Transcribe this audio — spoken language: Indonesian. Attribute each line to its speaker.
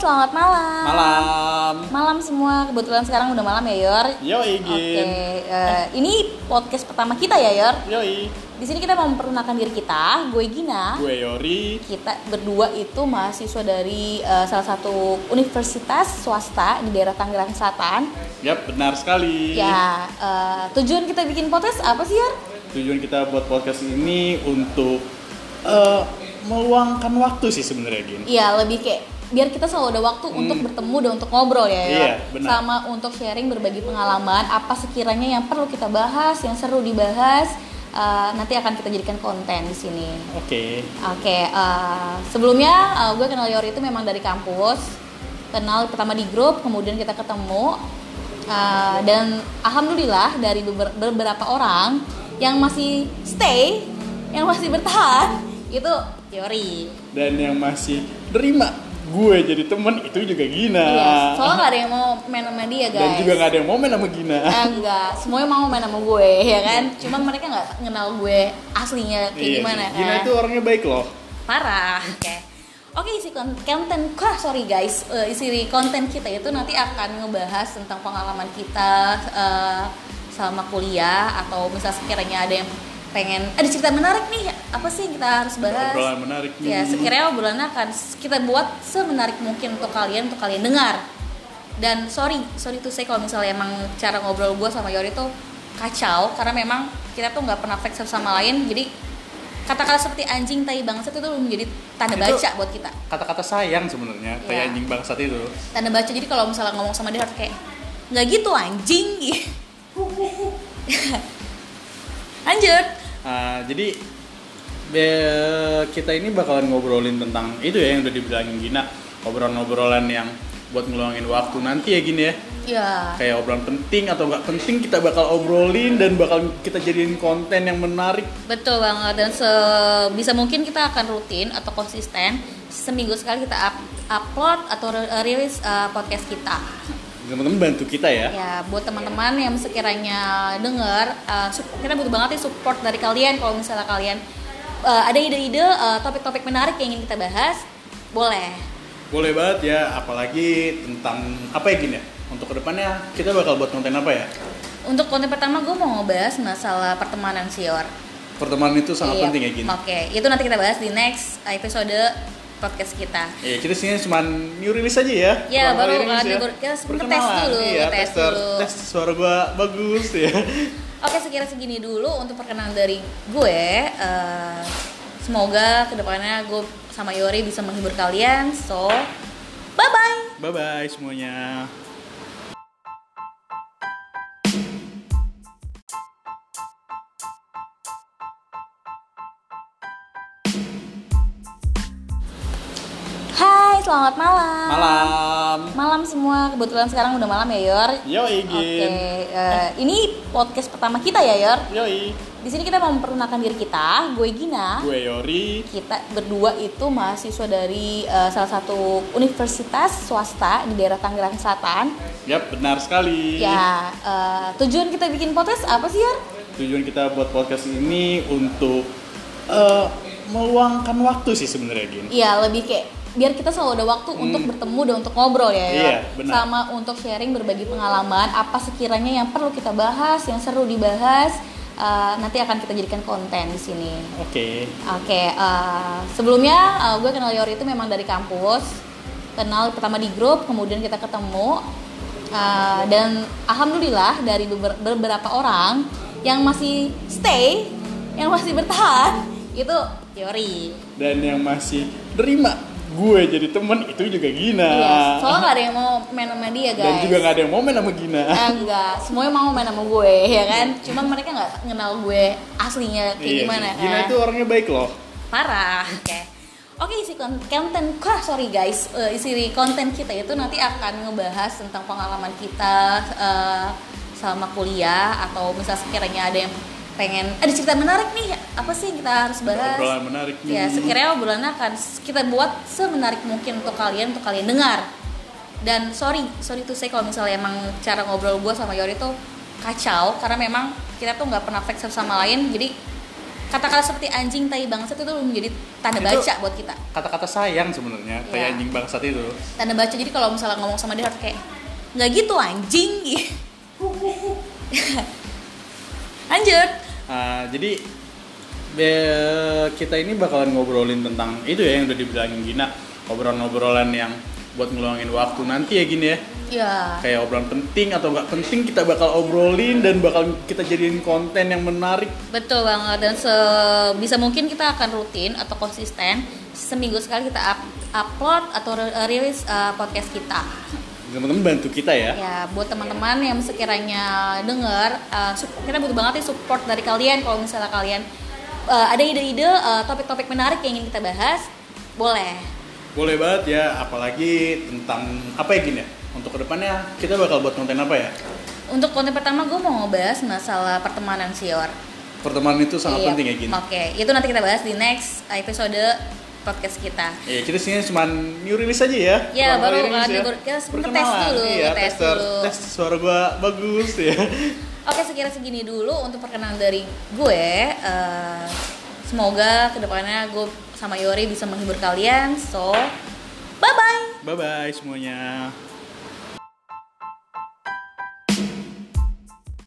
Speaker 1: selamat malam.
Speaker 2: Malam.
Speaker 1: Malam semua. Kebetulan sekarang udah malam ya, Yor.
Speaker 2: Yoi,
Speaker 1: Oke,
Speaker 2: Gin.
Speaker 1: eh, ini podcast pertama kita ya, Yor.
Speaker 2: Yoi.
Speaker 1: Di sini kita mau memperkenalkan diri kita. Gue Gina.
Speaker 2: Gue Yori.
Speaker 1: Kita berdua itu mahasiswa dari eh, salah satu universitas swasta di daerah Tangerang Selatan.
Speaker 2: Yap, benar sekali.
Speaker 1: Ya, eh, tujuan kita bikin podcast apa sih, Yor?
Speaker 2: Tujuan kita buat podcast ini untuk eh, meluangkan waktu sih sebenarnya, Gin.
Speaker 1: Iya, lebih kayak biar kita selalu ada waktu untuk bertemu dan untuk ngobrol ya, Yor.
Speaker 2: Hmm. Iya, benar.
Speaker 1: sama untuk sharing berbagi pengalaman apa sekiranya yang perlu kita bahas, yang seru dibahas eh, nanti akan kita jadikan konten di sini.
Speaker 2: Oke.
Speaker 1: Oke, eh, sebelumnya eh, gue kenal Yor itu memang dari kampus, kenal pertama di grup, kemudian kita ketemu Eh, dan alhamdulillah dari beber- beberapa orang yang masih stay, yang masih bertahan itu Yori.
Speaker 2: Dan yang masih nerima gue jadi temen itu juga Gina.
Speaker 1: Iya, soalnya gak ada yang mau main sama dia guys.
Speaker 2: Ah. Dan juga nggak ada yang mau main sama Gina.
Speaker 1: Eh, enggak, semuanya mau main sama gue ya kan. Cuma mereka nggak kenal gue aslinya kayak
Speaker 2: Iya,
Speaker 1: gimana kan.
Speaker 2: Gina itu orangnya baik loh.
Speaker 1: parah. Oke. Oke isi kon- konten, ah, sorry guys, Eh, isi konten kita itu nanti akan ngebahas tentang pengalaman kita eh, selama kuliah atau misal sekiranya ada yang pengen ada cerita menarik nih apa sih yang kita harus bahas?
Speaker 2: Obrolan menarik nih.
Speaker 1: Ya sekiranya obrolannya akan s- kita buat semenarik mungkin untuk kalian untuk kalian dengar. Dan sorry, sorry tuh saya kalau misalnya emang cara ngobrol gue sama Yori tuh kacau karena memang kita tuh nggak pernah fake satu sama lain jadi kata-kata seperti anjing tai bangsat itu menjadi tanda
Speaker 2: Itu-
Speaker 1: baca buat kita
Speaker 2: Kata-kata sayang sebenarnya,
Speaker 1: Iya.
Speaker 2: kayak anjing bangsat itu.
Speaker 1: tanda baca jadi kalau misalnya ngomong sama dia harus kayak nggak gitu anjing lanjut
Speaker 2: Ah, jadi be- kita ini bakalan ngobrolin tentang itu ya yang udah dibilangin Gina obrolan-obrolan yang buat ngeluangin waktu nanti ya gini ya
Speaker 1: ya
Speaker 2: kayak obrolan penting atau nggak penting kita bakal obrolin dan bakal kita jadiin konten yang menarik
Speaker 1: betul banget dan sebisa mungkin kita akan rutin atau konsisten seminggu sekali kita up- upload atau re- rilis uh, podcast kita
Speaker 2: teman-teman bantu kita ya
Speaker 1: ya buat teman-teman yang sekiranya dengar uh, sup- kita butuh banget nih support dari kalian kalau misalnya kalian uh, ada ide-ide uh, topik-topik menarik yang ingin kita bahas boleh
Speaker 2: boleh banget ya apalagi tentang apa ya gini ya untuk kedepannya kita bakal buat konten apa ya
Speaker 1: untuk konten pertama gue mau ngebahas masalah pertemanan sior
Speaker 2: pertemanan itu
Speaker 1: Iya,
Speaker 2: sangat penting ya gini
Speaker 1: oke itu nanti kita bahas di next episode podcast kita
Speaker 2: ya kita sini cuma new release aja ya
Speaker 1: Ya, baru
Speaker 2: Pertama kali
Speaker 1: kan,
Speaker 2: rilis
Speaker 1: kita ngetes
Speaker 2: Perkenalan,
Speaker 1: dulu,
Speaker 2: iya,
Speaker 1: ngetes
Speaker 2: tester,
Speaker 1: dulu.
Speaker 2: tes suara gua bagus ya
Speaker 1: Oke, sekira segini dulu untuk perkenalan dari gue. Eh, semoga kedepannya gue sama Yori bisa menghibur kalian. So, bye-bye!
Speaker 2: bye bye semuanya
Speaker 1: Hai, selamat malam.
Speaker 2: malam
Speaker 1: Malam semua. Kebetulan sekarang udah malam ya, Yor.
Speaker 2: yoi
Speaker 1: Oke,
Speaker 2: Iya, Gin
Speaker 1: eh, ini podcast pertama kita ya, Yor.
Speaker 2: yoi
Speaker 1: Di sini kita mau memperkenalkan diri kita. Gue Gina.
Speaker 2: gue Yori
Speaker 1: Kita berdua itu mahasiswa dari eh, salah satu universitas swasta di daerah Tangerang Selatan.
Speaker 2: yap benar sekali
Speaker 1: Ya, eh, tujuan kita bikin podcast apa sih, Yor?
Speaker 2: tujuan kita buat podcast ini untuk eh, meluangkan waktu sih sebenarnya Gin
Speaker 1: Iya, lebih kayak biar kita selalu ada waktu untuk bertemu dan untuk ngobrol ya, Yor.
Speaker 2: Hmm. Iya, benar.
Speaker 1: sama untuk sharing berbagi pengalaman apa sekiranya yang perlu kita bahas, yang seru dibahas eh, nanti akan kita jadikan konten di sini.
Speaker 2: oke
Speaker 1: Oke, eh, sebelumnya eh, gue kenal Yori itu memang dari kampus. Kenal pertama di grup, kemudian kita ketemu. Eh, dan alhamdulillah dari beber- beberapa orang yang masih stay, yang masih bertahan itu Yori.
Speaker 2: dan yang masih nerima gue jadi temen itu juga Gina
Speaker 1: Iya, soalnya gak ada yang mau main sama dia guys.
Speaker 2: dan juga nggak ada yang mau main sama Gina
Speaker 1: Eh, enggak, semuanya mau main sama gue ya kan. Cuma mereka nggak kenal gue aslinya kayak
Speaker 2: Iya,
Speaker 1: gimana kan.
Speaker 2: Gina itu orangnya baik loh
Speaker 1: parah oke oke isi kon- konten ah, sorry guys Eh, isi konten kita itu nanti akan ngebahas tentang pengalaman kita eh, selama kuliah atau misal sekiranya ada yang pengen ada cerita menarik nih apa sih yang kita harus bahas
Speaker 2: obrolan menarik nih
Speaker 1: ya sekiranya obrolannya akan s- kita buat semenarik mungkin untuk kalian untuk kalian dengar dan sorry sorry tuh saya kalau misalnya emang cara ngobrol gue sama Yori tuh kacau karena memang kita tuh nggak pernah fake satu sama lain jadi kata-kata seperti anjing tai bangsat itu menjadi tanda
Speaker 2: Itu-
Speaker 1: baca buat kita
Speaker 2: kata-kata sayang sebenarnya kayak
Speaker 1: Iya.
Speaker 2: anjing bangsat itu
Speaker 1: tanda baca jadi kalau misalnya ngomong sama dia harus kayak nggak gitu anjing lanjut
Speaker 2: Ah, jadi be- kita ini bakalan ngobrolin tentang itu ya yang udah dibilangin Gina obrolan-obrolan yang buat ngeluangin waktu nanti ya gini ya
Speaker 1: ya
Speaker 2: kayak obrolan penting atau nggak penting kita bakal obrolin dan bakal kita jadiin konten yang menarik
Speaker 1: betul banget dan sebisa mungkin kita akan rutin atau konsisten seminggu sekali kita up- upload atau re- rilis uh, podcast kita
Speaker 2: teman-teman bantu kita ya
Speaker 1: ya buat teman-teman yang sekiranya dengar uh, sup- kita butuh banget nih support dari kalian kalau misalnya kalian uh, ada ide-ide uh, topik-topik menarik yang ingin kita bahas boleh
Speaker 2: boleh banget ya apalagi tentang apa ya gini ya untuk kedepannya kita bakal buat konten apa ya
Speaker 1: untuk konten pertama gue mau ngebahas masalah pertemanan sior
Speaker 2: pertemanan itu sangat
Speaker 1: Iya.
Speaker 2: penting ya gini
Speaker 1: oke itu nanti kita bahas di next episode podcast kita
Speaker 2: Ya, kita sini cuma new release aja ya.
Speaker 1: Ya,
Speaker 2: Pertama
Speaker 1: baru
Speaker 2: kali rilis
Speaker 1: ada
Speaker 2: ya.
Speaker 1: ber- kita ngetes
Speaker 2: Perkenalan.
Speaker 1: dulu,
Speaker 2: Iya,
Speaker 1: ngetes
Speaker 2: tester.
Speaker 1: dulu.
Speaker 2: Tes suara gua bagus ya.
Speaker 1: Oke, sekira segini dulu untuk perkenalan dari gue. Eh, semoga kedepannya gue sama Yori bisa menghibur kalian. So, bye-bye!
Speaker 2: Bye bye semuanya.